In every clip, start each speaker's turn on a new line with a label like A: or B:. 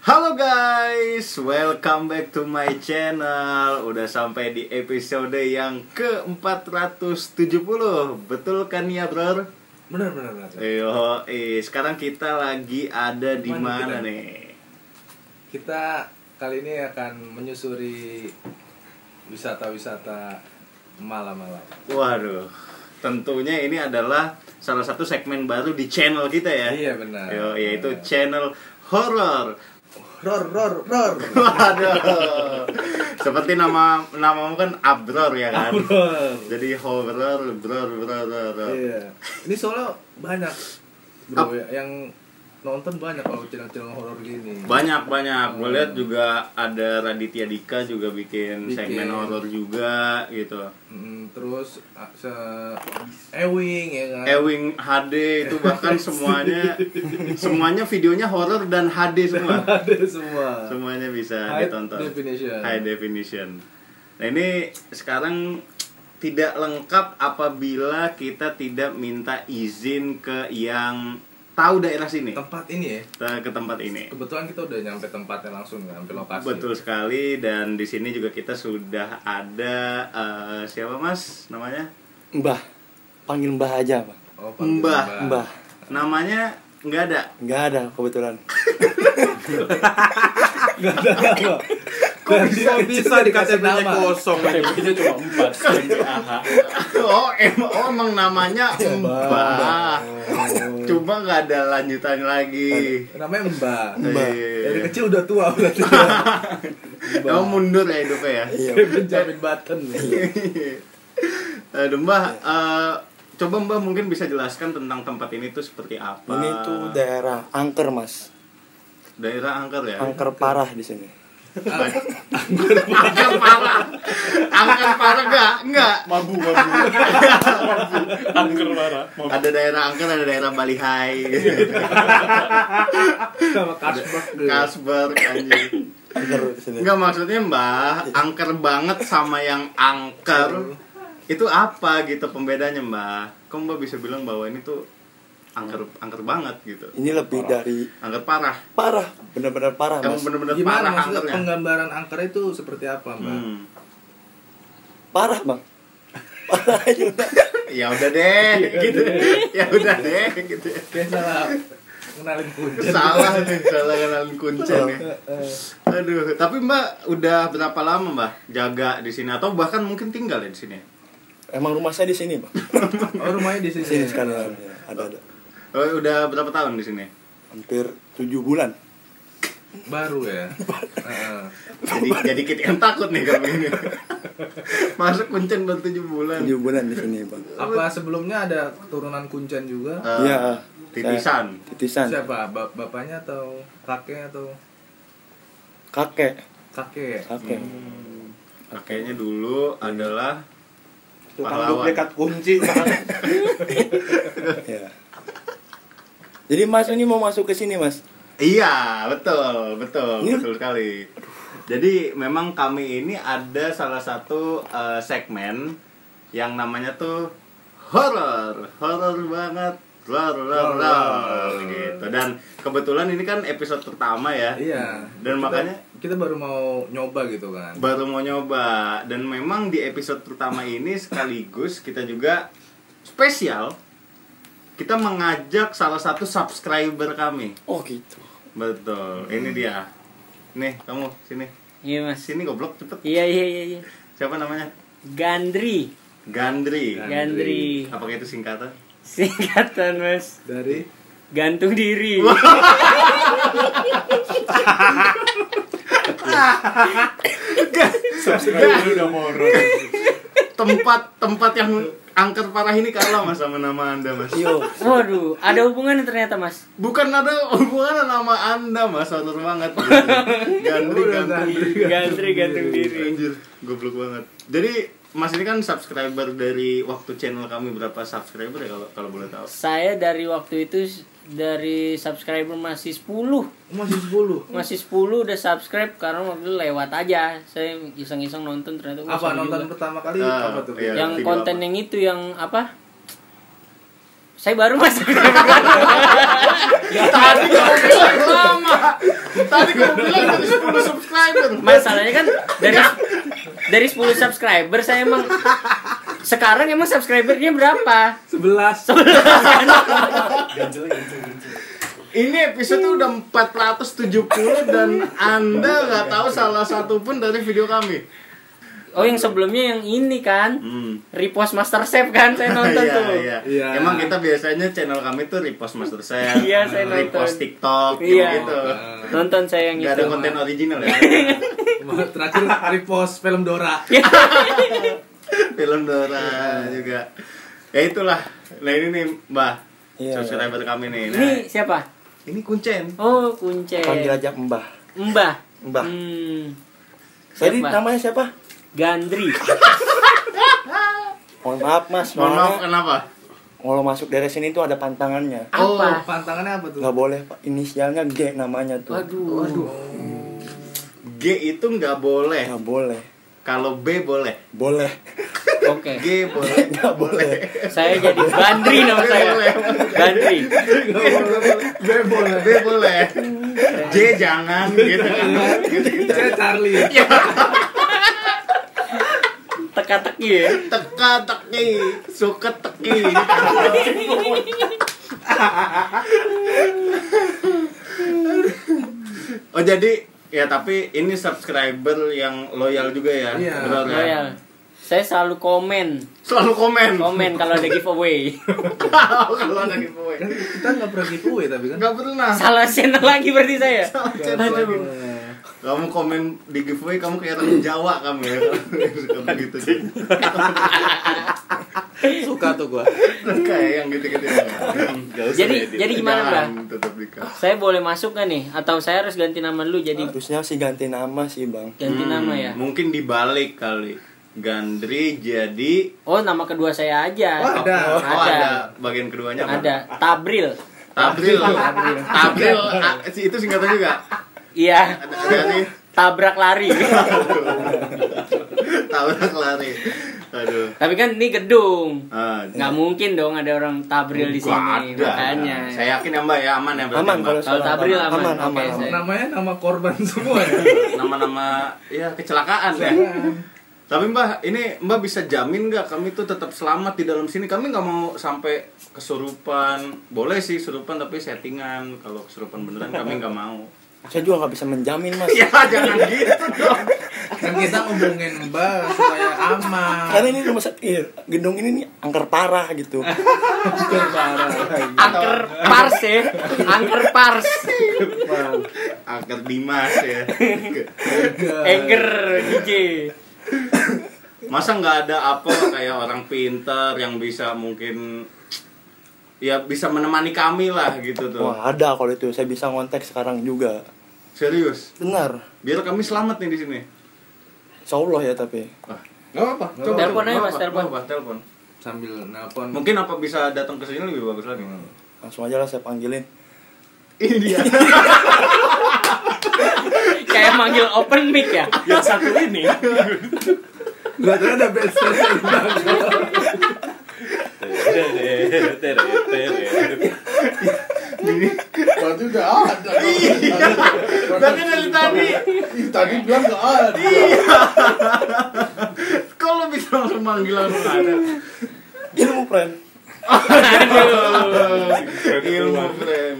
A: Halo guys, welcome back to my channel. Udah sampai di episode yang ke-470. Betul kan ya, Bro?
B: Benar benar benar.
A: Iya. Yo, sekarang kita lagi ada di
B: Mana
A: mana
B: kita?
A: nih?
B: Kita kali ini akan menyusuri wisata-wisata malam-malam.
A: Waduh. Tentunya ini adalah salah satu segmen baru di channel kita ya.
B: Iya, benar.
A: Yo, yaitu
B: Benar.
A: channel horror.
B: Ror ror ror.
A: Waduh. Seperti nama namamu kan Abror ya kan.
B: Ror.
A: Jadi horror, bror, bror, bror.
B: Iya. Ini soalnya banyak bro ya, yang nonton banyak kalau channel-channel horor gini.
A: banyak banyak gue lihat juga ada Raditya Dika juga bikin,
B: Bikin.
A: segmen horor juga gitu
B: Mm, terus ah, se Ewing ya kan.
A: Ewing HD itu bahkan semuanya semuanya videonya horor dan HD semua
B: Ada semua.
A: semuanya bisa
B: Nah. High
A: ditonton
B: definition.
A: high definition nah ini sekarang tidak lengkap apabila kita tidak minta izin ke yang tahu daerah sini
B: Tempat ini ya.
A: ke tempat ini
B: Kebetulan kita udah nyampe tempatnya langsung, nyampe lokasi.
A: Betul sekali dan di sini juga kita sudah ada eh, siapa Mas namanya?
C: Mbah, panggil Mbah aja, Pak.
B: Oh, panggil
A: Mbah.
C: Mbah,
A: Namanya nggak ada.
C: nggak ada kebetulan.
A: Kok
B: Dan bisa- dia- bisa ya? dia dikasih dikasih nama? nama?
A: kosong?
D: Kita cuma empat.
A: oh, em oh, emang namanya
C: Iya, Mbah.
A: Mbah. Cuma nggak ada lanjutan lagi.
B: Namanya Mbah.
C: Mbah.
B: Dari
A: Iya.
B: kecil udah tua berarti.
A: Emang mundur ya hidupnya ya.
C: Iya.
B: Benjamin Button.
A: Iya. Aduh Mbah, eh, coba Mbah mungkin bisa jelaskan tentang tempat ini tuh seperti apa.
C: Ini tuh daerah angker, Mas.
A: daerah angker ya.
C: Angker parah di sini.
A: Angker parah. Angker parah enggak? Enggak.
D: Mabu, mabu. Angker marah. Mabu.
A: Ada daerah angker, ada daerah Balihai.
C: Iya,
B: Sama Kasbah.
A: Kasbar anjing.
C: Angker di sini.
A: Enggak maksudnya Mbak, angker banget sama yang angker. Itu apa gitu pembedanya Mbak? Kok Mbak bisa bilang bahwa ini tuh angker angker banget gitu.
C: Ini lebih dari
A: Angker parah.
C: parah, benar-benar parah,
A: Emang
C: Mas.
A: bener-bener
B: Gimana
A: parah
B: maksudnya
A: angkernya.
B: penggambaran angker itu seperti apa, Mbak?
A: Hmm.
C: Parah, Bang. Parah aja udah.
A: Ya udah deh
B: Iya,
A: gitu. Ya udah deh gitu.
B: Kayak salah kenalin kuncen.
A: Salah nih, salah kenalan kuncen ya. Aduh, tapi Mbak udah berapa lama Mbak jaga di sini atau bahkan mungkin tinggal ya di sini?
C: Emang rumah saya di sini, Bang.
B: Oh, rumahnya di
C: Di
B: sini.
A: Iya,
C: sini sekarang. Ya, Ada ada.
A: Eh, udah berapa tahun di sini?
C: Hampir 7 bulan.
B: Baru ya. Heeh.
A: Jadi jadi kita yang takut nih kami ini. Masuk kuncen baru 7 bulan.
C: 7 bulan di sini, Bang.
B: Apa sebelumnya ada keturunan kuncen juga?
A: Eh,
C: Iya.
A: Titisan.
C: saya- Titisan.
B: Siapa? Ba- bapaknya atau kakeknya atau
C: Kakek.
B: kakek? ya?
C: Kakek.
A: Kakeknya dulu adalah
C: kan
D: Tukang
A: Pahlawan.
D: duplikat kunci.
C: Ya. Jadi Mas ini mau masuk ke sini, Mas.
A: Iya, betul, betul,
C: Iya.
A: betul sekali. Jadi memang kami ini ada salah satu eh, segmen yang namanya tuh horror, horror banget, horror, horror, horror, gitu. Dan kebetulan ini kan episode pertama ya.
B: Iya.
A: Dan
B: Kita-
A: makanya
B: kita baru mau nyoba gitu kan.
A: baru mau nyoba dan memang di episode pertama ini sekaligus kita juga spesial kita mengajak salah satu subscriber kami.
C: Oh, gitu.
A: Betul, ini dia. Nih, kamu sini.
E: Iya mas.
A: Sini goblok cepet.
E: Iya iya iya. iya.
A: Siapa namanya?
E: Gandri,
A: Gandri.
E: Gandri.
A: Apakah itu singkatan?
E: Singkatan mas.
B: Dari
E: Gantung diri.
D: Subscribe dulu udah moro.
A: Tempat tempat yang angker parah ini kalah mas sama nama Anda, Mas.
C: Yo.
E: Iya. Waduh, ada hubungannya ternyata mas.
A: Bukan ada hubungan nama Anda, Mas. Horor banget. Gandri,
B: Udah,
A: Gandri.
B: Gandri.
E: Gandri gantung diri.
A: Anjir, goblok banget. Jadi Mas ini kan subscriber dari waktu channel kami berapa subscriber ya kalau kalau boleh tahu?
E: Saya dari waktu itu s- dari subscriber masih 10
B: masih 10.
E: masih 10 udah subscribe karena waktu itu lewat aja saya iseng-iseng nonton ternyata gua
B: Apa
E: seru
B: nonton
E: juga.
B: pertama kali
A: Ah,
B: apa tuh?
A: iya.
E: yang
A: Video
E: konten
A: apa?
E: yang itu yang apa Saya baru masuk tadi kamu bilang sama.
A: Tadi kamu bilang dari 10 subscriber.
E: Masalahnya kan dari dari 10 subscriber saya emang sekarang emang subscribernya berapa?
B: Sebelas.
A: Ini episode tuh udah 470 dan Anda nggak tahu salah satu pun dari video kami.
E: Oh yang sebelumnya yang ini kan
A: Hmm.
E: repost master chef kan saya nonton
A: iya,
E: tuh.
A: iya.
B: Iya.
A: Emang kita biasanya channel kami tuh repost Master Chef,
E: Iya, saya nonton.
A: repost TikTok,
E: Iya.
B: Oh.
A: gitu.
E: Nonton saya yang
A: Gak ada
E: itu.
A: konten original ya.
B: Terakhir repost film Dora.
E: Ya,
A: Film Dora juga. Ya itulah. Nah ini nih Mbah,
C: Iya,
A: subscriber kami nih. Nah,
E: Ini siapa?
A: ini kuncen.
E: Oh, kunce.
C: Panggil aja Kan Mbah.
E: Mbah.
C: Mbah.
E: Hmm.
C: Tadi
E: Siapa?
C: namanya siapa?
E: Gandri.
C: Mohon maaf Mas.
A: Mohon maaf
C: soalnya
A: kenapa?
C: Kalau masuk dari sini tuh ada pantangannya.
A: Oh.
E: Apa?
B: Pantangannya apa tuh?
C: Nggak boleh Pak. Inisialnya G namanya tuh.
E: Waduh.
A: G itu nggak boleh.
C: Eh, Nggak boleh.
A: Kalau B boleh.
C: Boleh.
E: Oke.
A: G boleh.
C: Nggak boleh.
E: Saya jadi Gandri nama saya. Gandri.
A: B boleh. B boleh. J jangan gitu.
B: Saya Charlie.
E: Teka-teki ya.
A: Teka teki, suka teki. gitu kan.
E: ya.
A: Oh jadi ya tapi ini subscriber yang loyal juga ya.
B: Iya.
A: Benar ya?
E: Loyal. Oh, Saya selalu komen,
A: Selalu komen.
E: komen kalau ada giveaway.
A: Kalau ada giveaway.
B: Kan kita nggak pernah giveaway tapi kan.
A: Nggak pernah.
E: Salah ya? channel lagi berarti saya.
A: Salah channel lagi. Kamu komen di giveaway kamu kayak orang Jawa kamu ya. kamu gitu.
B: Suka tuh gua.
A: kayak yang gitu-gitu. ya.
E: Jadi jadi gimana, Mbak?
A: Jangan, Tetap nikah.
E: Saya boleh masuk nggak nih? Atau saya harus ganti nama dulu jadi
C: Harusnya sih ganti nama sih Bang.
E: ganti
A: Hmm,
E: nama ya?
A: Mungkin dibalik kali. Gandri jadi
E: Oh nama kedua saya
B: Wah,
E: aja.
B: ada.
A: Oh, oh,
E: Ada.
A: ada bagian keduanya apa?
E: Ada. Tabril.
A: Tabril. Tabril. ah, si- itu singkatan juga.
E: Iya.
A: Ada dari
E: Tabrak lari.
A: tabrak lari. Aduh.
E: Tapi kan ini gedung.
A: Ah,
E: Nggak mungkin dong ada orang tabril di
A: nggak
E: sini.
A: ada.
E: Makanya.
A: Saya yakin ya Mbak ya aman ya berarti
C: Aman
A: Mbak.
C: kalau
E: Kalau
C: salah,
E: Tabril
C: Bang.
E: aman.
C: aman,
E: Oke,
C: aman.
E: saya-
B: Namanya nama korban semua ya.
A: nama-nama ya kecelakaan ya.
E: Iya.
A: Tapi Mbak, ini Mbak bisa jamin nggak kami tuh tetap selamat di dalam sini? Kami nggak mau sampai kesurupan. Boleh sih surupan tapi settingan. Kalau kesurupan beneran kami nggak mau.
C: Saya juga nggak bisa menjamin Mas.
A: Ya jangan gitu dong.
B: Kan kita ngomongin Mbak supaya aman.
C: Karena ini rumah sakit, iya, gedung ini nih angker parah gitu.
B: Bukan parah.
E: Angker pars ya. Angker pars.
A: Agar Dimas ya.
E: Angker DJ.
A: Masa nggak ada apa kayak orang pinter yang bisa mungkin ya bisa menemani kami lah gitu tuh.
C: Wah ada kalau itu, saya bisa ngontek sekarang juga.
A: Serius.
C: Benar,
A: Biar kami selamat nih di sini.
C: insya Allah ya tapi.
A: Gak apa-apa. Coba
E: Telepon aja,
A: Nggak
E: Mas,
A: apa-apa,
E: telepon.
A: nggak apa-apa, telepon.
B: Sambil nelpon.
A: Mungkin apa bisa datang ke sini lebih bagus lagi.
C: Langsung aja lah saya panggilin.
A: Ini dia.
E: Kayak manggil open mic ya.
D: Yang satu ini.
B: Belajar ada best
D: Tere, tere, tere.
F: Tadi udah ada.
B: Iya.
A: Berarti dari tadi.
F: Ih, tadi bilang nggak ada.
A: Kok lo bisa langsung manggil langsung ada?
C: Ilmu friend.
A: Ilmu keren.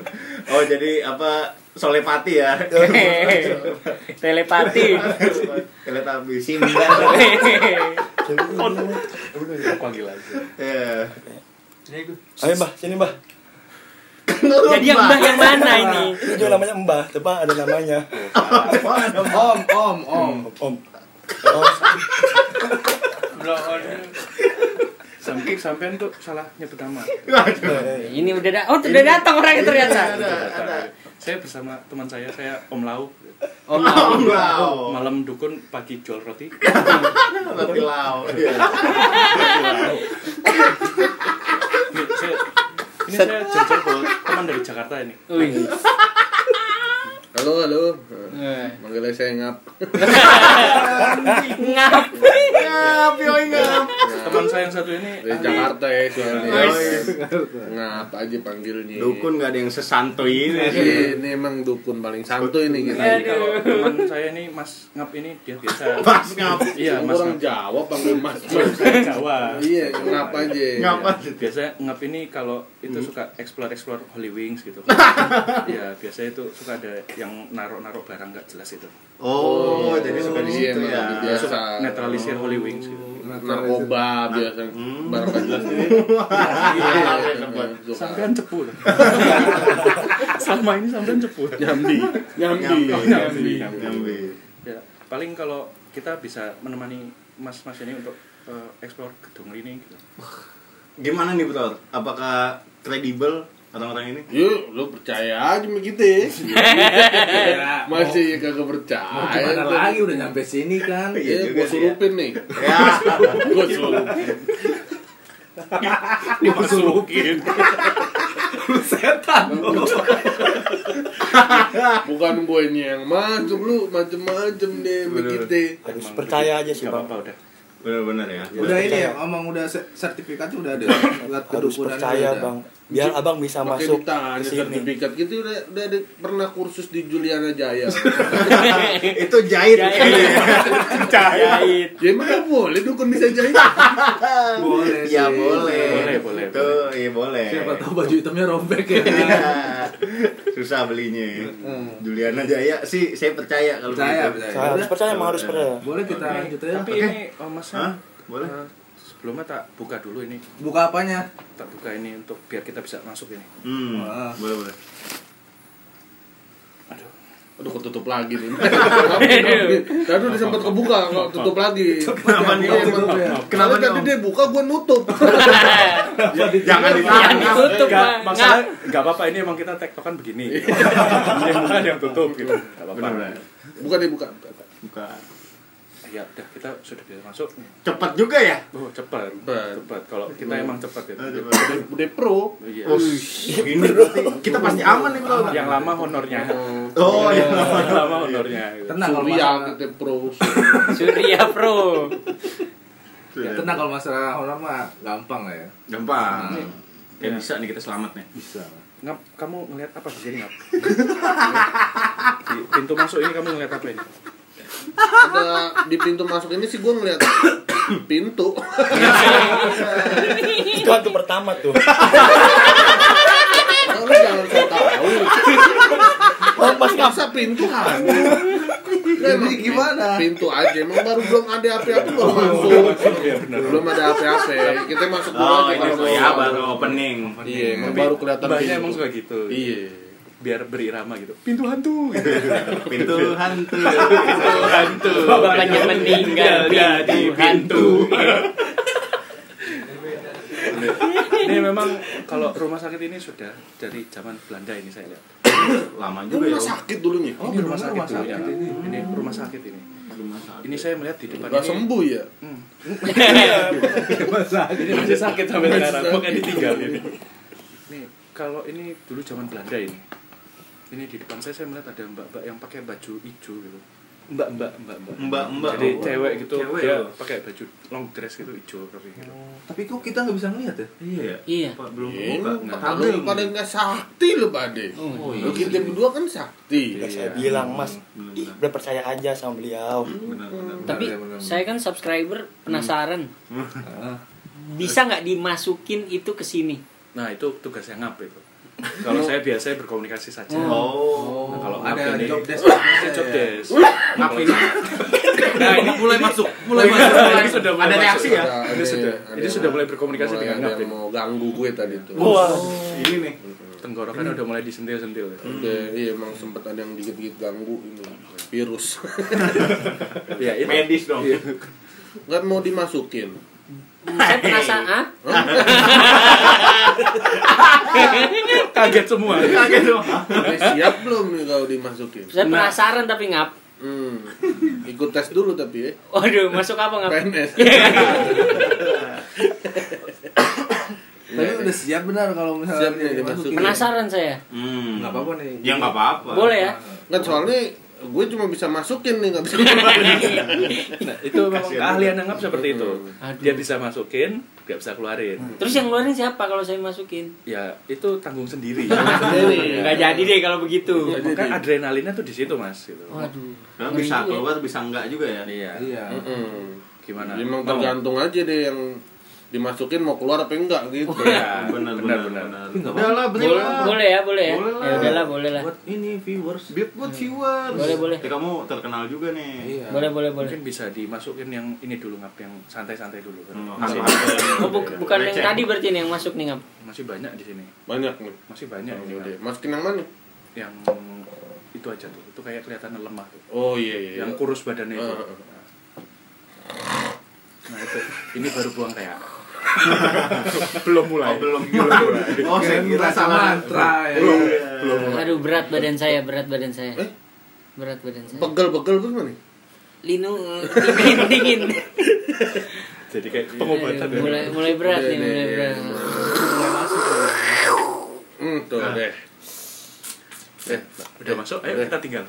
A: Oh jadi apa solepati ya?
E: Telepati.
A: Teletabis.
D: Udah, ya, panggil aja.
A: Iya.
C: Ayo mbah, sini mbah.
E: Jadi yang mbah yang mana ini?
C: Ini juga namanya mbah, coba ada namanya.
B: Om, om, om.
C: Om, om.
D: Sampai sampean tuh salah nyebut nama.
C: eh,
E: Ini udah da- oh udah datang orangnya ternyata.
D: Saya bersama teman saya, saya Om Lau.
E: Om Lau.
F: Oh.
A: Wow.
D: Malam dukun, pagi jual roti.
A: Roti lau. Iya.
D: Ini saya, ini saya jajal bawa teman dari Jakarta ini.
E: Wih.
F: Halo, halo.
E: Eh,
F: Manggilnya saya ngap.
E: Ngap.
A: Ngap, yoi ngap.
F: Ngap.
D: teman saya yang satu ini
F: Dari Jakarta ya soalnya.
A: Guys.
F: Ngap aja panggilnya.
A: Dukun gak ada yang sesantuy ini sih.
F: Iya, Ini emang dukun paling santuy nih kita.
D: Jadi Nah, kalau teman saya ini Mas Ngap ini dia biasa.
A: Pas ngap.
D: Iya, Mas Ngap.
F: orang Jawa panggil mas.
D: Saya Jawa.
F: Iya, ngap aja.
A: Ngapa?
D: Biasanya Ngap ini kalau itu
F: Hmm.
D: suka explore-explore Holy Wings gitu. Iya, biasanya itu suka ada yang naruh-naruh barang nggak jelas itu.
A: Oh, jadi suka di
F: Iya,
A: situ
F: emang
A: ya.
F: biasa.
D: Netralisir Holy Wings gitu.
F: narkoba biasa
A: Hmm.
F: barang nggak jelas Iya,
D: Sampean cepu. loh. Selama ini sampean cepu.
F: nyambi nyambi
A: Nyambi.
D: Nyambi.
A: Nyambi.
D: Ya, paling kalau kita bisa menemani Mas-mas ini untuk eh, explore gedung ini gitu.
A: Gimana nih, Bro? Apakah kredibel orang-orang ini?
F: Yuk, lu percaya aja sama kita ya. Masih ya kagak
B: Mau
F: percaya.
B: gimana lagi udah nyampe sini kan.
A: Iya juga
F: Iya, gua
A: sih ya.
F: surupin nih.
A: Ya,
F: Gua surupin.
D: Dimasukin.
B: Setan.
F: Bukan gue ini yang masuk lu macem-macem deh sama
A: Bener.
F: kita.
C: Harus percaya aja sih,
D: Nggak
C: Bang.
D: gitu. apa-apa udah.
A: benar-benar ya.
B: Udah ini ya, omong udah se- sertifikatnya udah ada. Buat
C: Harus
B: kedukunan
C: percaya,
B: udah ada.
C: Bang. Biar Abang bisa
F: Pakai
C: masuk
F: ditanya
C: ke sini.
F: sertifikat gitu udah, udah ada- pernah kursus di Juliana Jaya.
A: Itu jahit. Iya.
E: Jahit.
F: ya emang nggak boleh dukun bisa jahit.
B: Boleh
A: Ya
B: sih.
A: boleh.
D: Boleh, boleh,
A: Tuh, iya boleh.
B: Siapa tahu baju hitamnya robek ya.
A: Iya. Susah belinya. ya. Juliana Jaya sih saya percaya kalau
B: Hmm. Percaya,
A: begitu.
B: percaya.
C: Saya harus percaya, Emang harus percaya.
B: Boleh kita lanjut aja.
D: Tapi
A: Oke.
D: ini oh, Mas
A: Hah?
D: Sam,
A: Boleh.
D: eh, sebelumnya tak buka dulu ini.
B: Buka apanya?
D: Tak buka ini untuk biar kita bisa masuk ini.
A: Hmm.
B: Wah.
A: Boleh, boleh.
D: Aduh.
F: Aduh ketutup lagi nih. Tadi udah sempat kebuka kok tutup lagi.
A: Kenapa nih?
F: Iya, emang.
A: Kenapa
F: Kenapa
A: nih,
F: tadi
A: Om?
F: dia buka gua nutup.
A: Jangan
E: Jangan
A: ditahan.
B: Iya,
E: ditutup,
D: Nggak,
E: Bang.
D: masalah nggak apa-apa ini emang kita tektokan begini. Gitu. Ini yang buka ada yang tutup gitu. Nggak apa-apa.
A: Benar-benar.
F: Bukan dibuka.
A: Buka.
D: Ya udah kita sudah bisa masuk.
A: Cepat juga ya?
D: Oh, cepat.
F: Cepat.
D: Cepat. Kalau kita emang cepat gitu.
B: Iya.
A: Eh, cepat.
F: Udah pro.
D: Iya.
A: Oh, ini berarti kita pasti aman nih, Bro.
B: Iya.
D: Yang lama honornya.
A: Oh, iya.
D: Yang lama honornya. gitu.
C: Nah,
B: Tenang kalau
F: Surya
B: masalah,
F: kita pro.
E: Surya Pro.
A: Iya.
B: ya, tenang kalau masalah honor mah gampang lah ya.
A: Gampang.
B: Hmm.
A: Kayak bisa nih kita selamat nih.
B: Bisa.
D: Ngap, kamu ngelihat apa di sini, Ngap? Di pintu masuk ini kamu ngelihat apa ini?
F: Ada di pintu masuk ini sih gua ngeliat pintu.
C: Itu hantu pertama tuh.
F: Kalau lu jangan so tahu.
C: Oh, pas ngap.
F: Masa pintu hantu? Jadi
B: gimana?
F: Pintu aja, emang baru belum ada apa-apa baru masuk. Belum ada apa-apa. Kita masuk dulu
A: Oh,
F: aja
A: ini
F: kalau
A: tuh ya
F: mau.
A: baru opening.
F: Iya, emang baru kelihatan
D: Mbaknya
F: pintu.
D: emang suka gitu.
F: Iya.
D: Biar berirama gitu. Pintu hantu. Gitu.
A: Pintu hantu.
D: hantu.
E: Bapaknya meninggal
D: jadi
E: jadi
D: hantu. ini memang kalau rumah sakit ini sudah dari zaman Belanda ini saya lihat.
A: Lama
F: Lu
A: juga ya.
F: rumah sakit dulunya.
B: Oh,
D: ini rumah
B: benar
D: sakit,
B: rumah
D: dulunya.
B: sakit ini.
D: ini. rumah sakit ini.
A: Rumah sakit.
D: Ini saya melihat di depan
F: Gak
D: ini.
F: sembuh ya?
D: Ini masih sakit sampai
F: Masih
D: sekarang,
F: sakit.
D: makanya ditinggal ini. Nih, kalau ini dulu zaman Belanda ini. Ini di depan saya saya melihat ada mbak-mbak yang pakai baju hijau gitu. Mbak-mbak, mbak-mbak.
A: Mbak-mbak.
D: Jadi
A: Oh.
D: cewek gitu,
A: Cewek
D: dia
A: loh.
D: pakai baju long dress gitu hijau tapi gitu.
B: Tapi kok kita nggak bisa ngeliat ya?
A: Iya.
E: Iya.
A: Pak, Belum
F: Iya,
A: buka.
F: lu
A: nggak
F: pada-
A: tahu.
F: lu pada nggak sakti lu pade.
E: Oh,
F: Lu kita berdua kan sakti.
C: Ya, saya
D: Iya.
C: bilang, Mas,
A: Belum,
C: ih, udah percaya aja sama beliau.
A: Benar, benar.
E: Tapi
B: Benar, benar, Hmm. benar.
E: saya kan subscriber penasaran.
B: Ah.
E: Bisa nggak dimasukin itu ke sini?
D: Nah, itu tugas yang ngap itu. Kalau saya biasanya berkomunikasi saja.
A: Oh.
D: Nah, kalau
B: ada
D: ngap ini-
B: job desk. ya.
D: Saya job desk.
B: Ngap ini.
D: Nah, ini mulai masuk, mulai masuk. Ini sudah mulai
A: Ada
D: masuk.
A: reaksi ya?
F: Ada-
D: Iya, Ini
F: ada-
D: sudah,
F: ada
D: ini
F: yang-
D: sudah mulai berkomunikasi
F: mulai
D: dengan
F: ada
D: ngap
F: yang
D: ini.
F: mau ganggu gue tadi tuh.
C: Wah,
A: Ini nih.
D: Tenggorokan udah mulai disentil-sentil. ya.
F: Oke, iya emang sempet ada yang dikit-dikit ganggu ini virus.
D: Ya, itu.
A: Medis dong.
D: Iya.
F: Nggak mau dimasukin.
E: Saya penasaran. ah?
D: Kaget semua.
A: Kaget dong.
F: Udah siap belum nih kalau dimasukin?
E: Saya
D: Nah.
E: penasaran tapi ngap.
F: Hmm. Ikut tes dulu tapi ya.
E: Waduh, masuk apa ngap?
F: PNS.
B: Tapi udah siap benar kalau misalnya
F: Siap nih, dimasukin.
E: Penasaran saya.
A: Hmm.
B: Nggak apa-apa nih. Nah.
A: Ya nggak apa-apa.
E: Boleh ya?
F: Kan soalnya gue cuma bisa masukin nih nggak bisa
D: Nah, itu memang
A: Kasihan
D: keahlian nangkap seperti itu.
E: Aduh.
D: Dia bisa masukin, nggak bisa keluarin.
E: Terus yang ngeluarin siapa kalau saya masukin?
D: Ya, itu tanggung sendiri.
F: Sendiri,
E: Nggak jadi deh kalau begitu.
D: Maka adrenalinnya tuh di situ, Mas, gitu.
E: Waduh.
A: Karena
E: Ngeri
A: bisa
E: juga ya.
A: keluar bisa enggak juga ya
D: Iya.
B: Iya.
F: Mm-mm.
D: Gimana?
F: Memang
D: Mau?
F: tergantung aja deh yang dimasukin mau keluar apa enggak gitu.
D: Iya,
A: benar
D: benar
A: benar
D: benar.
A: benar udah lah beli
E: Boleh,
A: lah.
E: boleh ya, boleh ya.
A: Boleh lah.
E: Ya udahlah, boleh lah.
A: buat ini viewers buat buat viewers
E: Boleh, boleh.
A: Eh, kamu terkenal juga nih
B: Iya.
E: Boleh, boleh, boleh.
D: Mungkin bisa dimasukin yang ini dulu ngap yang santai-santai dulu. kan.
A: Hmm,
D: Masih,
E: Oh, bu- bukan yang
A: Receh.
E: tadi berarti nih yang masuk nih ngap.
D: masih banyak di sini.
F: Banyak nih.
D: Masih banyak
F: Ya
D: ini,
F: udah,
D: Ngap.
F: masukin yang mana?
D: yang itu aja tuh. Itu kayak kelihatan lemah tuh.
F: Oh iya iya.
D: Yang kurus badannya itu.
F: Eh, eh,
D: Nah, itu ini baru buang kayak. belum mulai.
A: Oh, belum belum oh saya kira salah
B: mantra ya.
A: belum
E: Aduh, berat badan saya, berat badan saya.
F: Eh?
E: Berat badan saya.
F: Pegel-pegel tuh mana?
E: Linu eh, dingin, dingin.
D: Jadi kayak pengobatan ya.
E: mulai mulai berat nih,
F: Iya,
E: mulai
F: iya,
E: berat.
F: Hmm, tuh
D: Ah.
F: deh.
D: Eh, udah masuk, ayo kita tinggal.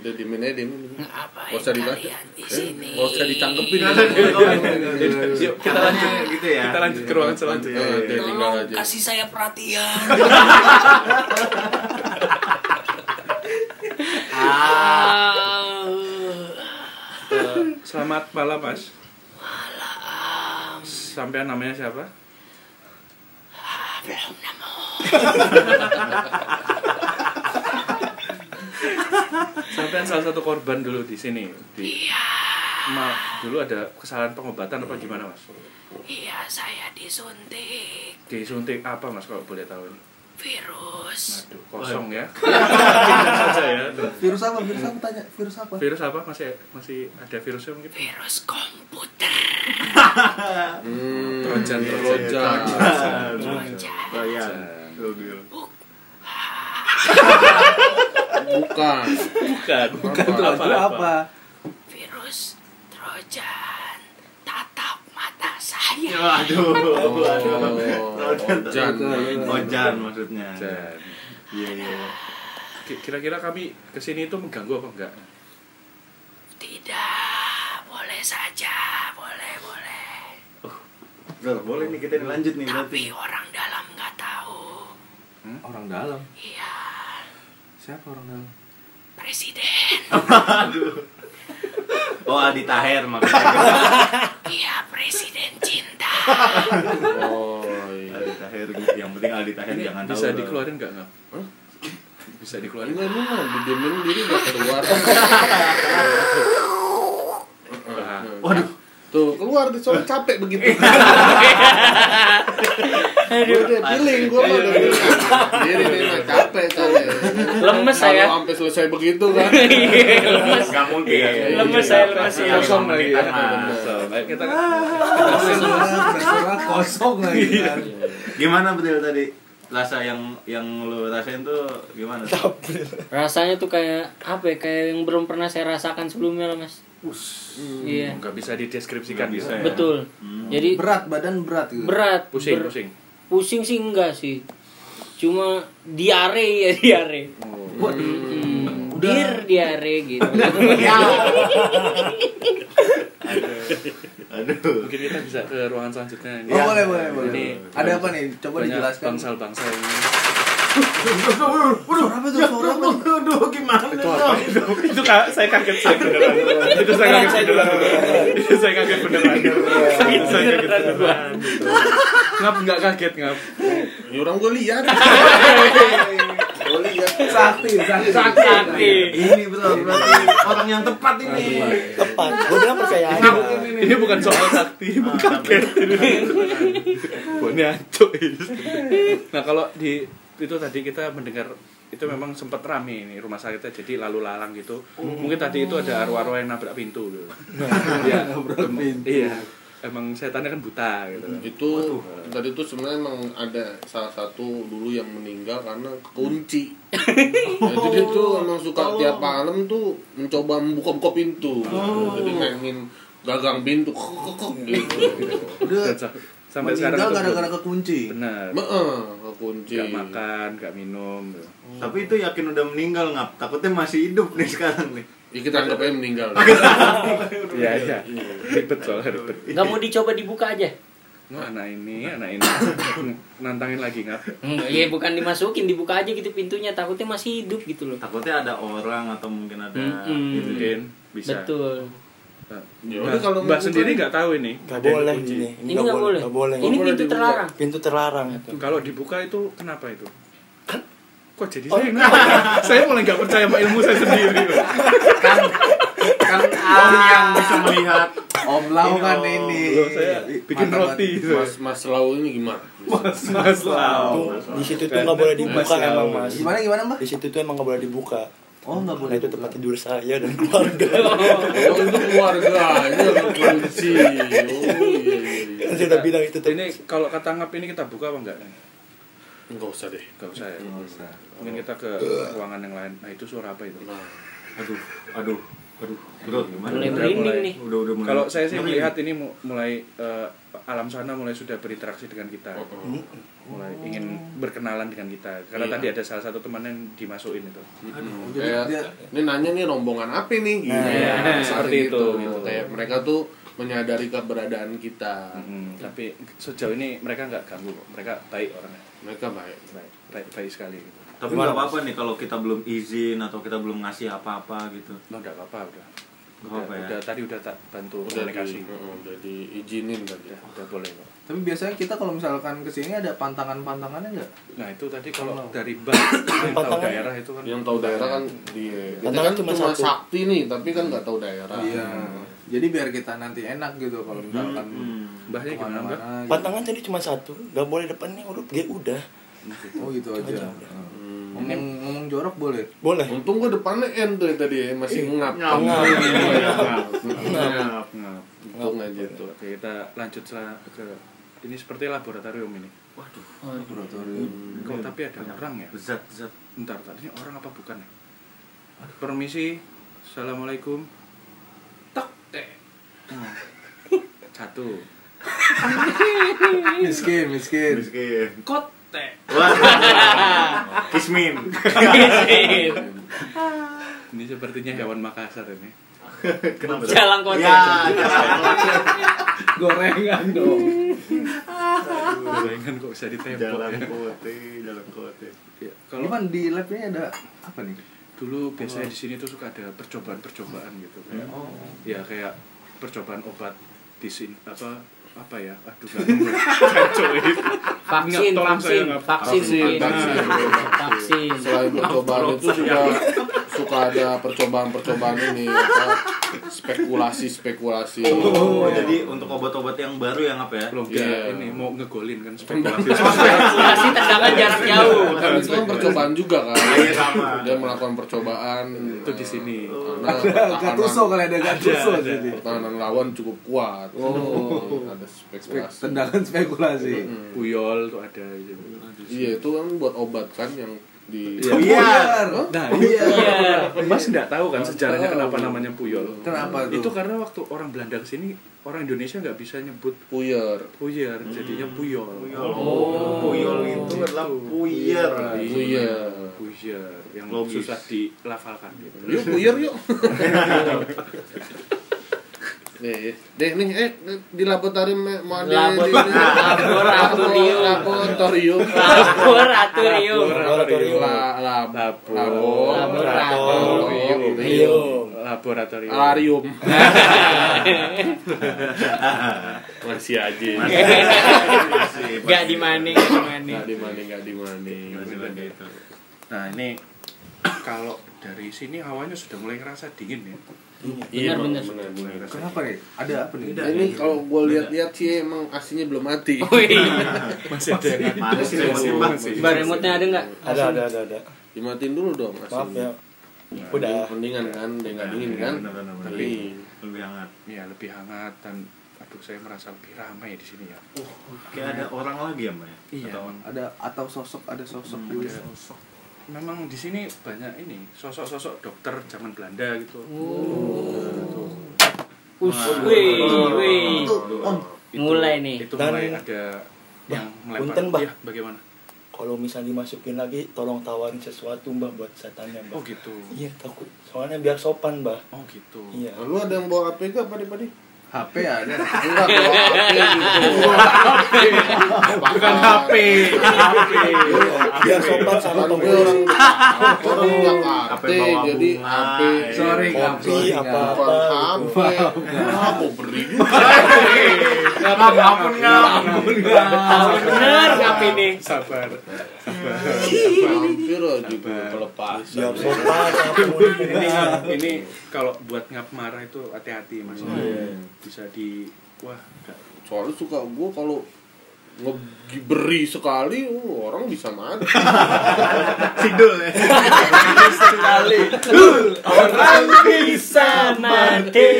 F: Udah dimin aja dimin.
E: Apa
F: Nggak usah dibaca.
E: kalian di sini?
F: Nggak usah dicangkepin.
D: Yuk, kita
A: Caranya
D: lanjut. Iya.
A: gitu ya.
D: Kita lanjut ke ruangan selanjutnya.
F: Eh, Udah tinggal
E: Tolong
F: aja.
E: kasih saya perhatian. Ah.
D: Eh, Selamat malam, Mas. Malam. Sampai namanya siapa? Sampai salah satu korban dulu di sini. Di...
E: Iya.
D: Ma, dulu ada kesalahan pengobatan apa gimana, Mas?
E: Iya, saya disuntik
D: Disuntik apa, Mas, kalau boleh tahu ini?
E: virus.
D: Aduh, kosong ya. Pindah saja ya.
B: Virus apa? Virus apa tanya? Virus apa?
D: Virus apa? Masih masih ada virusnya mungkin?
E: Virus komputer.
F: Hmm.
D: Trojan, trojan.
F: Trojan.
A: oh iya
F: Bukan.
D: Bukan. Bukan
F: Apa?
B: Itu apa?
E: Virus Trojan. Tatap mata saya.
A: aduh
F: Oh, Trojan.
A: ojan maksudnya iya iya
D: Ki- Kira-kira kami kesini itu mengganggu apa enggak?
E: Tidak. Boleh saja. Boleh, boleh.
A: Bro, boleh nih kita dilanjut nih berarti
E: Tapi orang dalam nggak tahu.
B: Orang dalam.
E: Iya.
B: Siapa orang dalam?
E: Presiden.
A: oh Adi Taher makanya
E: Iya, presiden cinta.
F: Oh iya.
A: Aldi Taher yang penting Aldi Taher
D: Ini
A: jangan tahu,
D: bisa
A: bro.
D: dikeluarin enggak, Ngap?
F: Hah?
D: Bisa dikeluarin?
F: Enggak ini mah didimin diri nggak keluar.
B: Iya.
D: Ah.
A: waduh
F: Tuh keluar di soalnya capek begitu. Gue udah feeling, gue mah udah feeling. Diri nih mah capek soalnya.
E: Lemes
F: Kalau
E: saya.
F: sampai selesai begitu kan.
E: Lemes.
A: nggak mungkin
E: Lemes saya, lemes ya.
A: kosong lagi
F: ya.
D: Baik, kita kan
B: Ah. Restoran kosong lagi kan.
A: gimana betul tadi rasa yang yang lu rasain tuh gimana
E: Rasanya tuh kayak apa ya? Kayak yang belum pernah saya rasakan sebelumnya lah, Mas. Iya.
D: enggak bisa dideskripsikan
A: Nggak bisa
D: bisa.
A: ya.
E: Betul. Jadi
B: Berat badan berat gitu.
E: berat.
D: Pusing,
E: ber-
D: pusing.
E: Pusing sih enggak sih. Cuma diare ya diare. Hmm. Dir diare gitu.
A: aduh
D: Mungkin kita bisa ke ruangan selanjutnya ini.
B: Oh, boleh, boleh, boleh.
D: Ini
B: Ada apa nih? Coba
D: Iya. banyak
B: dijelaskan.
D: Bangsal-bangsal ini.
B: Suara apa tuh? Suara apa tuh?
A: aduh gimana dong
D: itu ka- saya kaget saya
B: Iya,
D: beneran. itu saya kaget beneran. itu saya kaget beneran.
B: Iya,
D: Itu saya kaget beneran. Ngap enggak kaget, Ngap.
F: Ya orang gue lihat.
B: Boleh ya. Sakti, sakti.
D: Iya.
E: Sakti.
A: ini betul berarti orang yang tepat ini
C: Tepat. Gue bilang percaya aja.
D: Iya, Ini bukan soal sakti, bukan kaget. Buatnya acuk. Nah, kalau di itu tadi kita mendengar itu memang sempat rame ini rumah sakitnya jadi lalu lalang gitu. Mungkin tadi itu ada arwah-arwah yang nabrak pintu gitu. Iya,
B: Nabrak pintu.
D: Iya. Emang setannya kan buta gitu.
F: itu tadi tuh sebenarnya emang ada salah satu dulu yang meninggal karena kekunci. Nah, jadi tuh emang suka tiap malam tuh mencoba membuka-buka pintu. Jadi mainin gagang pintu kok, kok, kok, gitu.
A: udah
D: Dan sa- sampai
B: Meninggal
D: sekarang tuh
B: gara-gara
D: belum-
B: kekunci.
D: bener
F: Heeh, kekunci.
D: nggak makan nggak minum gitu.
B: Hmm.
A: Tapi itu yakin udah meninggal ngap. Takutnya masih hidup nih sekarang nih.
F: Ya, kita anggap aja meninggal.
D: iya iya ribet soalnya ribet
E: Gak mau dicoba dibuka aja?
D: Nah, anak ini anak ini nantangin lagi ngap
E: Enggak, ya bukan dimasukin, dibuka aja gitu pintunya. Takutnya masih hidup gitu loh.
A: Takutnya ada orang atau mungkin ada
B: Hmm,
E: Mm-mm.
A: gitu deh.
D: Din bisa
E: Betul.
D: Nah,
F: Ya
D: Mbak-
F: udah kalau
D: Mbak
F: mau
D: sendiri
F: buka-
D: nggak tahu ini
C: Gak
D: Dan
C: boleh
D: kunci.
C: ini.
E: Ini nggak boleh.
C: Gak boleh.
E: Ini
F: Nggak boleh
E: pintu
F: dibuka.
E: terlarang.
C: Pintu terlarang.
D: Kalau dibuka itu kenapa itu? Kok jadi saya yang nanya? saya mulai nggak percaya sama ilmu saya sendiri. loh.
A: Kan om
B: Ah.
A: yang bisa melihat.
B: Om Lau
A: Ini
B: kan
A: Om.
B: ini.
D: Loh, saya bikin
B: Mantan-
D: roti.
F: Mas Mas Lau ini gimana?
D: Mas Mas
C: Tuh,
D: Lau.
C: di situ tuh nggak boleh dibuka
D: Mas,
C: emang
D: tahu.
C: mas.
B: Gimana gimana mbak?
C: Di situ tuh emang nggak boleh dibuka.
B: Oh nggak
C: Nah, itu tempat tidur saya dan keluarga.
F: Oh, itu keluarganya kekunci. Oh iya iya. iya.
C: Kan saya udah bilang itu
D: Ini
C: tempat.
D: kalau kata ngap ini kita buka apa enggak?
F: Enggak iya. usah deh.
D: Enggak usah ya. Mungkin kita ke ruangan yang lain. Nah, itu suara apa itu?
F: Nah,
A: Aduh, aduh, aduh. Bro, gimana?
E: Mulai
D: Udah
E: merinding
D: mulai.
E: nih.
A: Udah udah mulai.
D: Kalau saya sih
A: Ngeri.
D: melihat ini mu- mulai eh, alam sana mulai sudah berinteraksi dengan kita.
F: oh, oh.
D: Mulai ingin berkenalan dengan kita. Karena
F: Iya.
D: tadi ada salah satu teman yang dimasukin itu.
F: Mm-mm. Hmm. Kayak, ini nanya nih rombongan apa nih? Gitu.
D: Iya, seperti
F: Seperti itu.
D: itu, gitu.
F: Kayak mereka tuh menyadari keberadaan kita.
D: Mm, tapi sejauh ini mereka nggak ganggu kok. Mereka baik orangnya.
F: Mereka ya, baik.
D: Baik, baik, baik sekali. Gitu.
A: Tapi nggak apa-apa nih kalau kita belum izin atau kita belum ngasih apa-apa gitu.
D: Lo nggak apa-apa udah.
A: Nggak
D: Udah,
A: apa-apa ya.
D: udah tadi udah tak bantu
F: Udah, di,
D: komunikasi.
F: oh, udah diizinin tadi.
D: Udah, udah boleh kok.
B: Tapi biasanya kita kalau misalkan kesini ada pantangan-pantangannya nggak?
D: Nah itu tadi kalau
B: Kalau-
D: dari bank yang tahu
C: Pantangan-
D: daerah itu kan.
F: Yang tahu daerah kan dia. Kita
C: Tantangan
F: kan
C: cuma
F: cuma
C: satu.
F: sakti nih, tapi kan nggak tahu
D: Ah.
F: daerah.
B: Iya. Jadi biar kita nanti enak gitu kalau misalkan
D: Mbahnya Hmm. gimana mbak?
B: kemana-mana. gitu.
C: Pantangan tadi cuma satu. Gak boleh depannya huruf G udah.
B: Oh gitu aja. Hmm. Ngomong ngomong jorok boleh.
C: Boleh.
F: Untung gua depannya N tuh yang tadi ya, masih ngap.
A: Ngap.
F: Ngap.
A: Ngap.
D: Nah,
F: Untung aja tuh.
D: oke, kita lanjut lah ke ini seperti laboratorium ini.
A: Waduh,
B: Laboratorium.
D: Kok tapi ada orang ya?
A: zat zat.
D: Bentar, tadi ini orang apa bukan ya? Permisi, assalamualaikum. Tok tek. Hmm. Satu.
B: Miskin, miskin.
A: Miskin.
D: Kotek.
A: Wah. Kismin.
E: Iya.
D: Ini sepertinya hewan Makassar ini.
A: Kenapa?
E: Jalan kota.
A: Ya, jalan kota.
D: Gorengan dong. Gorengan kok bisa ditembak
A: Jalan
D: ya?
A: kote, jalan kote.
D: Ya, Kalau
B: Cuman kan di lab ini ada apa nih?
D: dulu biasanya di sini tuh suka ada percobaan-percobaan gitu kayak ya kayak percobaan obat di sini apa apa ya aduh nggak nemu. Kacau ini.
E: Vaksin,
D: Nggak, tolong
E: vaksin,
D: saya nggak-
E: vaksin,
F: Vaksin,
E: vaksin, vaksin.
F: Selain percobaan itu juga suka ada percobaan-percobaan ini apa, spekulasi-spekulasi.
A: Oh, jadi untuk obat-obat yang baru yang apa ya?
D: Loh, nggak,
F: Iya.
D: ini mau ngegolin kan spekulasi
E: Vaksin tendangan jarak jauh.
F: Kan itu kan percobaan juga kan.
A: Iya, sama.
F: Dia melakukan percobaan
D: itu di sini
F: karena
B: Gatuso
F: pertahanan,
B: kali ada gatuso
D: ada.
B: jadi.
F: pertahanan lawan cukup kuat.
B: Oh.
F: Ada
B: Spek-
F: spekulasi. Hmm.
B: Tendangan spekulasi.
D: Hmm. puyol tuh ada gitu.
F: Iya, itu kan buat obat kan yang di
D: Iya.
B: Buyar.
D: nah
B: Buyar.
D: itu mas nggak tahu kan sejarahnya
F: tahu.
D: kenapa namanya puyol
B: Kenapa tuh?
D: itu kan- karena waktu orang Belanda kesini orang Indonesia nggak bisa nyebut
F: puyer.
D: puyer jadinya puyol
A: Oh, puyol itu adalah puyer.
F: Puyer.
D: puyer yang
A: Logis.
D: Oh, iya. susah dilafalkan gitu.
F: Yuk puyer yuk. Nih, deh nih eh di laboratorium eh, mau ada di-
E: Labor- laboratorium.
F: laboratorium
E: Laboratorium.
C: Laboratorium.
F: La- lab-
D: Labo-
F: labo-
E: Laboratorium.
D: Iya.
F: laboratorium.
D: laboratorium
F: Iya. Alarium. Masih aja.
E: Gak dimaning, gak dimaning.
F: Enggak dimani, enggak dimani.
D: nah ini kalau dari sini awalnya sudah mulai ngerasa dingin ya
F: Iya, Bang,
E: Bener,
F: bener, bener.
B: Kenapa nih? Ada apa nih?
F: Nah, Ini kalau gue lihat-lihat sih emang aslinya belum mati.
E: Oh, iya. Wih,
D: masih ada yang
A: Masih Iya, masih masih.
E: bar remote-nya ada nggak?
C: Ada ada ada ada.
F: Dimatiin dulu dong
C: Maaf ya.
F: aslinya.
C: Udah.
F: Mendingan kan, dia nggak dingin kan.
A: Bener-bener, Iya, bener.
F: Tapi
A: Lebih hangat.
D: ya lebih hangat dan aduh saya merasa lebih ramai di sini ya
A: Kayak ada orang lagi ya, Mbak? ya?
D: Iya.
A: Atau-
B: Ada atau sosok ada sosok
D: Hmm,
B: gitu.
D: memang di sini banyak ini sosok-sosok dokter zaman Belanda gitu
E: Us, wih, wih. nah,
A: Tuh, Om.
E: Mulai nih.
D: Itu
C: Dan-
D: mulai ada yang melempar.
C: punten, Bah.
D: Iya, bagaimana?
C: Kalau misalnya dimasukin lagi, tolong tawarin sesuatu mbak buat setannya mbak.
D: Oh gitu.
C: Iya takut. Soalnya biar sopan mbak.
D: Oh gitu.
C: Iya.
F: Lu ada yang bawa HP gak padi padi?
B: HP ada.
F: Enggak bawa HP gitu.
D: Bukan HP. HP.
C: Biar sopan sama
F: Kan gue
C: temen.
F: orang orang
A: HP
F: Jakarta
A: bawa
F: jadi
A: bunga,
F: HP
A: ya.
B: Sorry, Kak.
C: Kopi gitu.
B: Sorry,
C: apa
B: Kak.
F: bukan
C: apa.
F: HP. Aku beri juga.
D: Ampun ngap. Ampun
B: Iya.
E: Tahu bener ngapain nih?
D: Sabar.
F: Hampir Ya. aja gue kelepas.
C: Biar sopan sama temen.
D: Ini ini kalau buat ngap marah itu hati-hati Mas.
C: Oh, iya,
D: Bisa di wah nggak
F: Soalnya suka gue kalau ngeberi sekali uh, orang bisa mati.
A: Sidul ya.
E: Sekali. Orang bisa mati.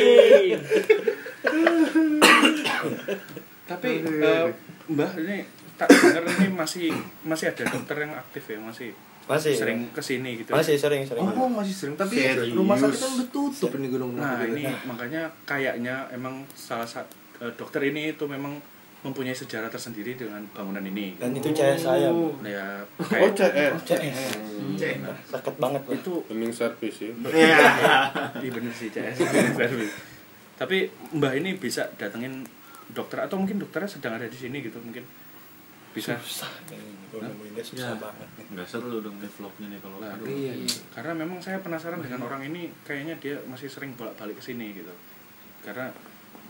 D: Tapi eh, Mbah ini tak dengar ini masih masih ada dokter yang aktif ya masih
C: Masih.
D: sering kesini gitu.
C: Masih sering sering.
B: Oh, masih sering tapi
A: Serius.
B: rumah sakit kan udah tutup ini gedung rumah
D: Nah
B: sakit.
D: ini makanya kayaknya emang salah satu eh, dokter ini itu memang mempunyai sejarah tersendiri dengan bangunan ini.
C: Dan itu cahaya saya. Mbak.
D: Nah, ya
F: Oh
D: kayak
F: CS.
C: Sakit banget Mbak.
D: itu
F: Bening servis ya.
A: Iya.
D: di bener sih CS. Tapi Mbah ini bisa datengin dokter atau mungkin dokternya sedang ada di sini gitu mungkin bisa
C: Susah nih. Gue nemuin dia susah banget.
A: Enggak seru dong vlognya nih kalau.
D: Nah,
A: Aduh.
B: Iya.
D: karena memang saya penasaran dengan orang ini kayaknya dia masih sering bolak-balik ke sini gitu karena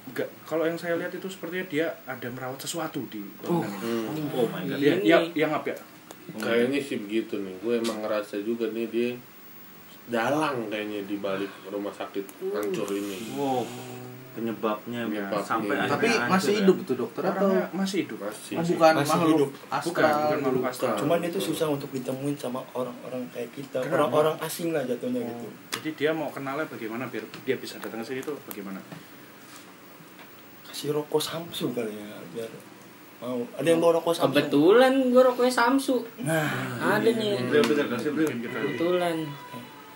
D: nggak kalau yang saya lihat itu sepertinya dia ada merawat sesuatu di bangunan ini.
F: Hmm.
A: Oh my god.
D: Dia-
E: Ini.
D: ya yang apa ya
F: Kayaknya sih begitu nih. Gue emang ngerasa juga nih dia dalang kayaknya di balik rumah sakit hancur ini.
A: Wow. Penyebabnya
F: Iya.
A: Mbak. sampai
F: Iya.
A: akhirnya
B: Tapi
A: hancur,
B: masih
A: ya.
B: hidup tuh dokter atau
D: orangnya masih hidup
F: Masih.
B: Oh, bukan
C: Masih
B: makhluk
C: hidup.
B: astral
D: bukan bukan
B: gitu.
D: makhluk astral
F: Bukan.
C: Cuman itu susah untuk ditemuin sama orang-orang kayak kita.
D: Kenapa?
C: Orang-orang asing lah jatuhnya gitu.
D: jadi dia mau kenalnya bagaimana biar dia bisa datang ke sini tuh bagaimana
C: Kasih rokok Samsung kali ya. Biar mau. Ada yang bawa rokok Samsung.
E: Kebetulan gue rokoknya Samsu.
C: Nah.
E: Ada nih.
A: Bro, bentar, kasih, bro.
D: Mungkin kita
E: Kebetulan.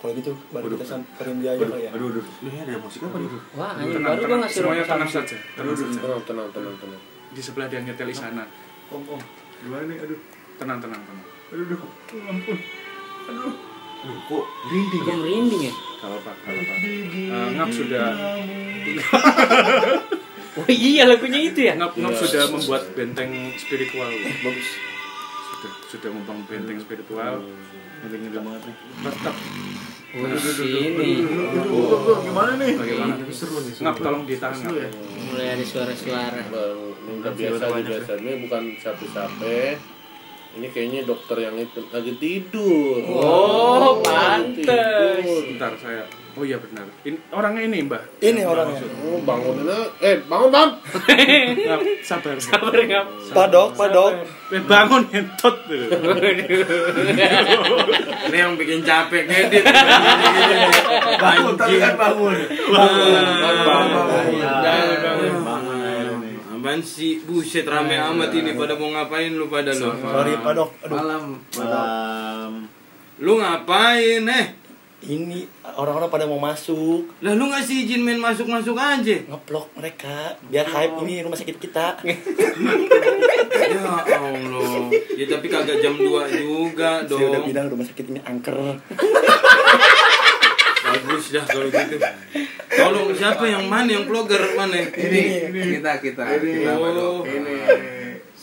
C: Kalau gitu baru
A: Waduh.
C: kita samperin dia aja
A: Aduh,
C: kali ya.
A: aduh, aduh. Ini Iya, ada musik apa nih?
E: Wah, anjing
D: tenang,
E: baru gue
D: tenang.
E: ngasih
D: semuanya
E: rokok
D: tenang
E: Samsu.
D: saja tenang saja
F: Tenang, tenang, tenang, tenang.
D: di sebelah dia nyetel sana
A: Om, om. Gimana nih? Aduh.
D: tenang tenang tenang
A: Aduh, aduh. Aduh, ampun. Aduh. Aduh, kok rinding
E: Gue merinding ya.
D: kalau pak kalau pak Eh, ngap sudah
E: Oh iya lagunya itu ya.
D: Ngap Ngap
F: Iya.
D: sudah membuat benteng spiritual. Bagus. Sudah sudah membangun benteng spiritual.
A: Ngeri-ngeri Iya. banget nih. Nah,
D: Tetap
E: Oh, sini.
A: Aduh, aduh, gimana nih?
D: bagaimana? Ngap tolong ditahan. Ngap.
A: ya?
E: Mulai ada suara-suara.
F: Baru nggak biasa aja biasa. Ini bukan sapi-sapi. Ini kayaknya dokter yang itu lagi tidur.
E: Oh,
F: lagi
E: pantes.
F: tidur.
D: Bentar saya. Oh iya benar. Ini orangnya ini, Mbah.
C: Ini orangnya.
F: Oh, bangunnya. Eh, bangun, Bang.
D: Ngap, sabar. Ngap.
E: Kabar ngap.
C: Padok, padok.
D: Eh, Bangun entot tuh.
A: Ini yang bikin capek ngedit.
B: Bangun, tapi kan bangun.
A: Bangun, bangun. Bangun ayo nih.
G: Apaan sih? Buset rame amat ini pada mau ngapain lu pada lu?
C: Sorry padok. Aduh.
B: Malam.
A: Malam.
G: Lu ngapain eh?
C: Ini orang-orang pada mau masuk,
G: Lah lu ngasih izin main masuk-masuk aja.
C: ngeblok mereka biar hype ini rumah sakit kita.
G: Ya Allah. Ya tapi kagak jam 2 juga
C: Saya udah
G: dong.
C: bilang rumah sakit ini angker.
G: Bagus dah kalau gitu. Tolong siapa yang mana yang vlogger eh? mana?
B: Ini kita kita. kita, Padok.
G: Oh.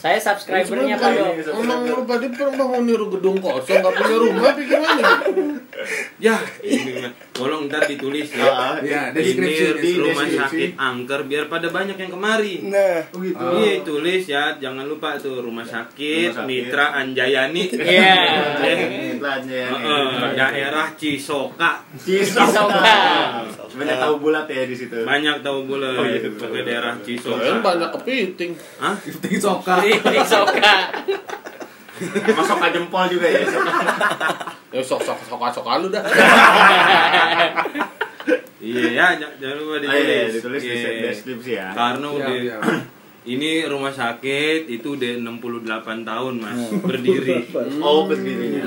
E: Saya subscribernya Pak Dok.
F: Emang lu tadi pernah mau niru gedung kosong, nggak punya rumah, apa gimana?
G: Ya, ini mah. tolong ntar ditulis ya.
A: Ah,
B: Ya, deskripsi
G: Ini rumah
B: deskripsi.
G: sakit angker biar pada banyak yang kemari.
C: Nah,
A: oh gitu.
G: Iya tulis ya, jangan lupa tuh rumah
A: Iya.
G: sakit,
A: Rumah sakit.
G: Mitra Anjayani.
E: Iya.
A: Ini telanjang ya nih.
G: Heeh, daerah Cisoka.
A: Cisoka.
E: Cisoka.
A: Banyak tahu bulat ya di situ.
G: Banyak tahu boleh
A: Oh, iya.
G: ke daerah
F: Soalnya
G: Cisoka.
F: banyak kepiting.
G: Hah?
B: Ting soka.
E: Cisoka.
A: Masuk ke jempol juga ya.
F: Ya sok sok sok sok lu dah.
G: Iya ya, j- jangan lupa
A: Ah, iya, ditulis
G: ditulis.
A: di
G: Iya.
A: deskripsi ya.
G: Karena
B: Iya,
G: udah
B: iya.
G: ini rumah sakit itu udah 68 tahun, Mas, berdiri.
A: Oh, berdirinya.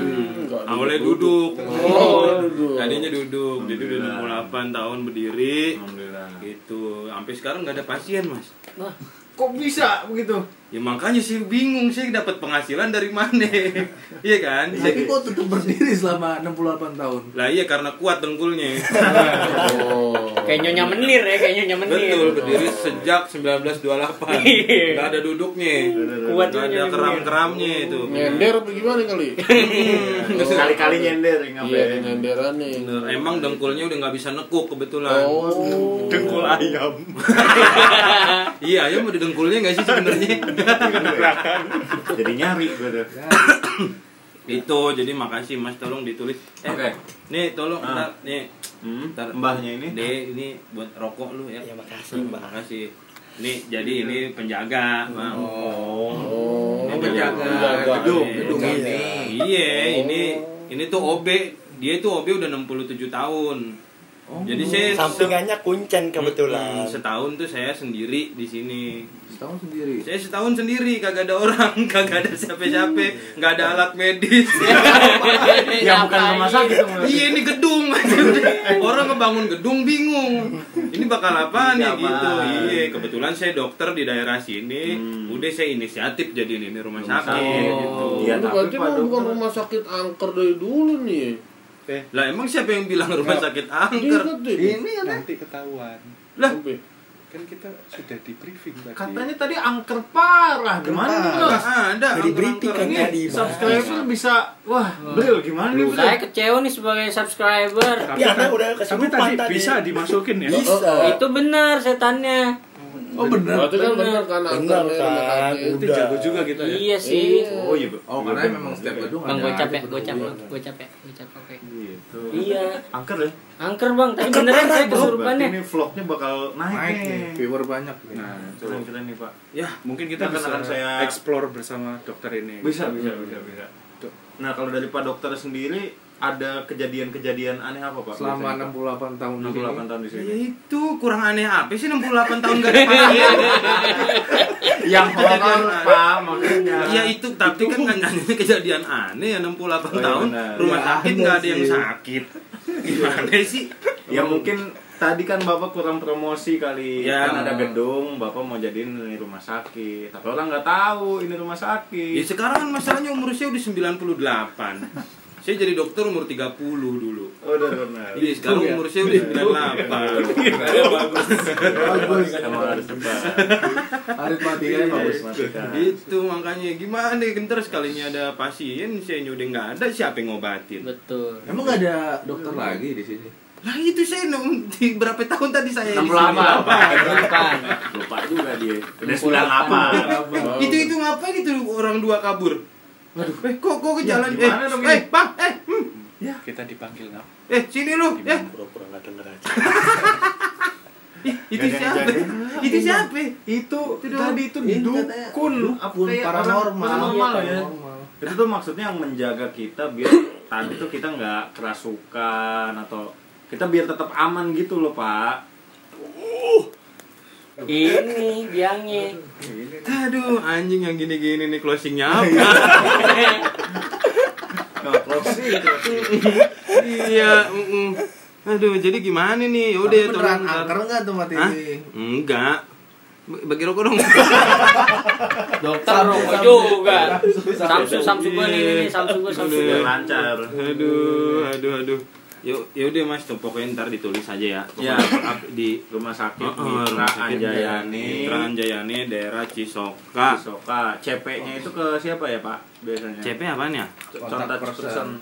G: Awalnya duduk.
F: Oh, duduk.
G: Tadinya duduk, jadi udah 68 tahun berdiri.
A: Alhamdulillah.
G: Gitu. Sampai sekarang nggak ada pasien, Mas.
E: Wah,
A: kok bisa begitu
G: Ya makanya sih bingung sih dapat penghasilan dari mana. iya kan?
B: Tapi kok tetap berdiri selama 68 tahun?
G: Lah iya karena kuat dengkulnya.
F: Oh.
E: Kayak nyonya menir ya, kayak nyonya menir.
G: Betul, berdiri sejak 1928. Gak ada duduknya.
E: Kuat
G: Gak ada
E: nyonya menir.
G: keram-keramnya itu.
F: Nyender apa gimana kali?
A: kali-kali Iya. nyender
F: Iya, ada
A: ngapain
F: nyenderan nih.
G: Bener, Emang dengkulnya udah nggak bisa nekuk kebetulan.
F: Oh.
A: dengkul ayam
G: Iya, ayam udah dengkulnya nggak sih sebenarnya?
A: jadi nyari gue tuh
G: itu jadi makasih Mas tolong ditulis. Eh,
A: Oke.
G: Nih tolong
A: Ah.
G: ntar, nih
A: Hmm,
G: Ntar.
A: mbahnya ini
G: Deh, Eh, ini buat rokok lu ya.
C: Ya makasih mbak.
G: Makasih. Nih jadi
D: Iya.
G: ini penjaga. Nah, Oh.
F: Oh.
G: Ini penjaga.
A: gedung,
G: Iya.
B: gedung ini.
G: Iya, ini
D: Oh.
G: ini tuh OB. Dia tuh OB udah 67 tahun. Jadi
B: Oh,
G: saya
C: Sampingannya kuncen kebetulan.
G: Mm, setahun tuh saya sendiri di sini.
B: Setahun sendiri.
G: Saya setahun sendiri, kagak ada orang, kagak ada siapa-siapa, nggak ada alat medis.
A: ya bukan rumah sakit dong,
G: Iya ini gedung Orang ngebangun gedung bingung Ini bakal apaan ya
A: Ini
G: gitu
A: apaan?
G: Iya kebetulan saya dokter di daerah sini Udah saya inisiatif jadiin ini rumah,
A: Hmm. Rumah
G: sakit,
A: sakit.
G: gitu
A: Iya,
F: Itu
A: tapi
F: berarti
A: Pak
F: mah bukan
A: Dokter-
F: rumah sakit angker dari dulu nih.
G: Lah emang siapa yang bilang
A: Iya.
G: rumah sakit angker?
F: Diinget deh.
D: Ini nanti ketahuan.
G: Lah
F: Oke.
D: Kan kita sudah di briefing tadi.
A: katanya tadi angker parah Iya. gimana nih Bro?
G: nggak ada
C: Dari Britik
G: angker-angker
C: kan
G: ini.
C: tadi.
A: subscriber bisa wah Bril gimana nih Bril
E: Saya kecewa nih sebagai subscriber.
D: Tapi
C: Ya,
D: kan-
C: Anda udah
D: tapi
C: kesurupan
D: tadi,
C: tadi.
D: bisa dimasukin ya.
C: Bisa.
E: Itu benar setannya.
B: Oh benar.
F: Berarti kan benar kan angker
C: Benar
F: dari rumah
C: kan?
F: sakit.
D: Itu
C: Udah.
D: jago juga kita ya.
E: Iya sih.
F: Iya.
A: oh iya Bro.
B: Oh, karena memang setiap gedung
E: Bang
B: ada
E: gocap ya,
B: tipe
E: gocap,
B: dua.
E: gocap ya, gocap oke.
A: gitu
E: Iya,
A: angker ya
E: angker bang. Tadi
A: Kan
E: beneran saya
A: Berarti
E: kesurupannya.
A: ini vlognya bakal naik, ya.
B: Naik nih,
A: nih
B: viewer banyak nih.
D: Nah, itu.
A: keren keren nih pak
D: Ya, mungkin kita
A: Akan-
D: bisa
A: akan saya-
D: explore bersama dokter ini.
A: bisa bisa bisa bisa nah kalau dari pak dokter sendiri ada kejadian-kejadian aneh apa pak
B: Selama
A: Biasanya,
B: 68
A: Pak?
B: tahun di sini.
A: 68 tahun di sini
G: Ya itu kurang aneh apa sih 68 tahun gak ada pakai
A: yang horor
G: Kejadian aneh.
A: pak makanya
G: Ya itu tapi kan kan kejadian aneh ya 68
A: Oh, iya,
G: tahun
A: benar.
G: rumah
B: Ya,
G: sakit
B: aneh
G: nggak ada yang
B: sih.
G: sakit. Gimana sih?
A: ya mungkin tadi kan bapak kurang promosi kali
G: Ya.
A: kan ada gedung bapak mau jadiin ini rumah sakit tapi orang nggak tahu ini rumah
G: Ya
A: sakit
G: sekarang kan masalahnya umur saya udah 98. Saya jadi dokter umur 30 dulu.
A: udah Oh, benar
G: Jadi sekarang
B: ya?
G: umur saya udah 98.
B: Bagus.
A: emang harus cepat
B: Arif Mati
A: Iya,
B: kan
A: bagus
B: bagus.
A: banget
G: Itu Gitu, makanya gimana ntar sekalinya ada pasien saya udah nggak ada siapa yang ngobatin.
E: Betul.
B: Emang gak ada dokter lagi di sini?
G: Lah itu saya enam- di berapa tahun tadi saya di
A: enam
G: sini?
E: Kesurupan.
A: lupa juga dia udah sembilan delapan
G: Eh, itu itu ngapain itu orang dua kabur? Waduh, eh kok kok ke
A: Ya,
G: jalan eh,
A: gimana dong ini?
G: eh, Bang, eh, hmm,
D: Ya, Kita dipanggil nggak?
G: eh sini lu, eh
C: Pura-pura nggak denger aja.
G: Ih,
A: Gak
G: itu
A: ada yang
G: siapa?
A: jadi.
G: Itu siapa? Eh,
A: itu
G: doang.
A: tadi itu
B: Iya,
A: dukun
B: Dukun
A: kayak orang
B: paranormal.
A: paranormal
B: Iya,
A: ya
B: paranormal.
A: itu tuh maksudnya yang menjaga kita biar tadi tuh kita nggak kerasukan atau kita biar tetap aman gitu loh pak
E: Ini biangnya.
G: Aduh, anjing yang gini-gini nih closingnya apa?
A: nggak proksi
G: iya, mm-mm. aduh, jadi gimana nih? Eh, Yaudah,
B: Tapi beneran
G: tolong ntar.
B: angker nggak tuh mati
G: Hah?
B: ini?
G: Enggak. B- Bagi rokok dong.
E: Dokter rokok juga. Samsu, samsu gue nih, nih, samsu gue, samsu
A: biar
E: gue.
A: lancar
G: aduh, aduh, aduh. Yuk, yaudah mas, tuh pokoknya ntar ditulis aja ya. Pokoknya up- di
A: rumah sakit
G: Oh, oh,
A: Mitra
G: Rumah Sakit
A: Anjayani
G: Mitra Anjayani, daerah Cisoka.
A: Soka CP-nya itu ke siapa ya pak biasanya
G: CP apaan ya?
A: contact person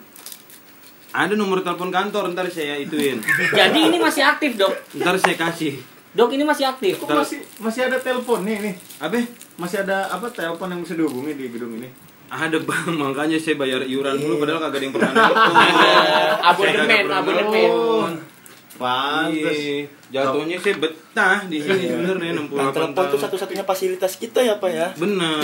G: Ada nomor telepon kantor, ntar saya ituin.
E: Jadi ini masih aktif dok.
G: Ntar saya kasih.
E: Dok ini masih aktif.
A: kok masih masih ada telepon nih nih
G: Apa?
A: masih ada apa telepon yang bisa dihubungi di gedung ini
G: Ada bang, makanya saya bayar iuran dulu padahal kagak ada yang pernah nelpon.
E: Abodemen, abodemen.
A: pantes
G: Iya, Jatuhnya saya betah di sini sebenarnya 68
C: Nah, telepon tuh
G: tahun.
C: satu-satunya fasilitas kita ya pak ya.
G: Bener.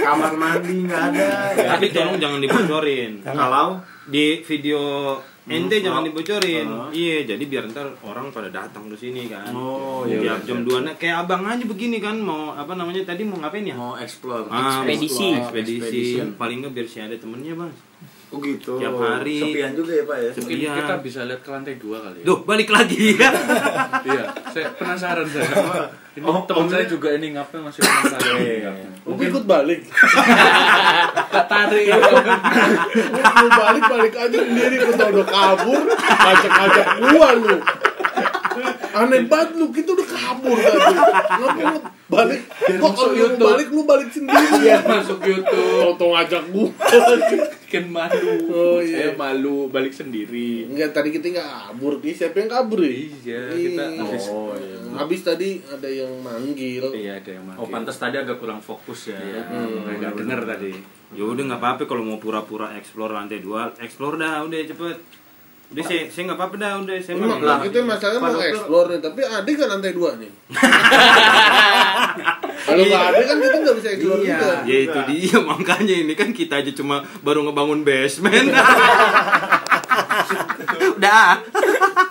A: kamar mandi nggak ada ya.
G: Tapi tolong jangan dibocorin.
A: kalau
G: Di video ente
A: Hmm,
G: jangan
A: oh.
G: dibocorin.
A: Oh.
G: Iya, jadi biar ntar orang pada datang ke sini kan.
A: Oh, iya, iya.
G: iya. jam 2 nah, kayak abang aja begini kan mau apa namanya tadi mau ngapain ya?
A: mau explore
G: Ah,
E: Ekspedisi.
G: ekspedisi.
A: Expedition.
G: Paling nggak biar si ada temennya bang.
A: Oh gitu.
G: Tiap hari.
A: Sepian juga ya Pak ya.
D: Mungkin
G: Iya.
D: kita bisa lihat ke lantai dua kali ya.
G: Duh, balik lagi ya.
D: Iya, saya penasaran saya. Ini
A: Oh,
D: teman
A: omnya-
D: saya juga ini ngapnya masih penasaran.
A: Iya, iya, iya.
F: Mungkin ikut balik.
D: Tertarik.
G: Oh,
F: Lu balik balik aja sendiri gua tau udah kabur, ngajak-ngajak gua lu. Aneh banget lu, kita udah kabur tadi. Ngapain lu balik? Kok kalau lu mau balik lu balik sendiri ya?
D: Masuk YouTube,
F: Toto ngajak gua.
D: bikin malu.
F: Oh,
D: Saya
F: iya.
D: malu balik sendiri.
F: Enggak, tadi kita nggak kabur nih. Siapa yang kabur ya?
D: Iya, kita
F: Ih.
D: habis.
A: Oh iya.
F: Habis tadi ada yang manggil.
D: Iya, ada yang mati.
A: Oh pantas tadi agak kurang fokus ya.
D: Iya,
F: Hmm.
D: enggak dengar tadi.
G: Ya udah nggak apa-apa kalau mau pura-pura explore lantai dua, explore dah udah cepet. Udah saya saya nggak apa-apa dah udah saya
F: Emang
G: mau-
F: kita masalahnya mau
A: Pak dokter-
F: explore nih, tapi ada kan lantai dua nih. Kalau nggak ada kan kita nggak bisa explore
B: Iya.
F: juga.
G: Ya itu dia makanya ini kan kita aja cuma baru ngebangun basement. udah.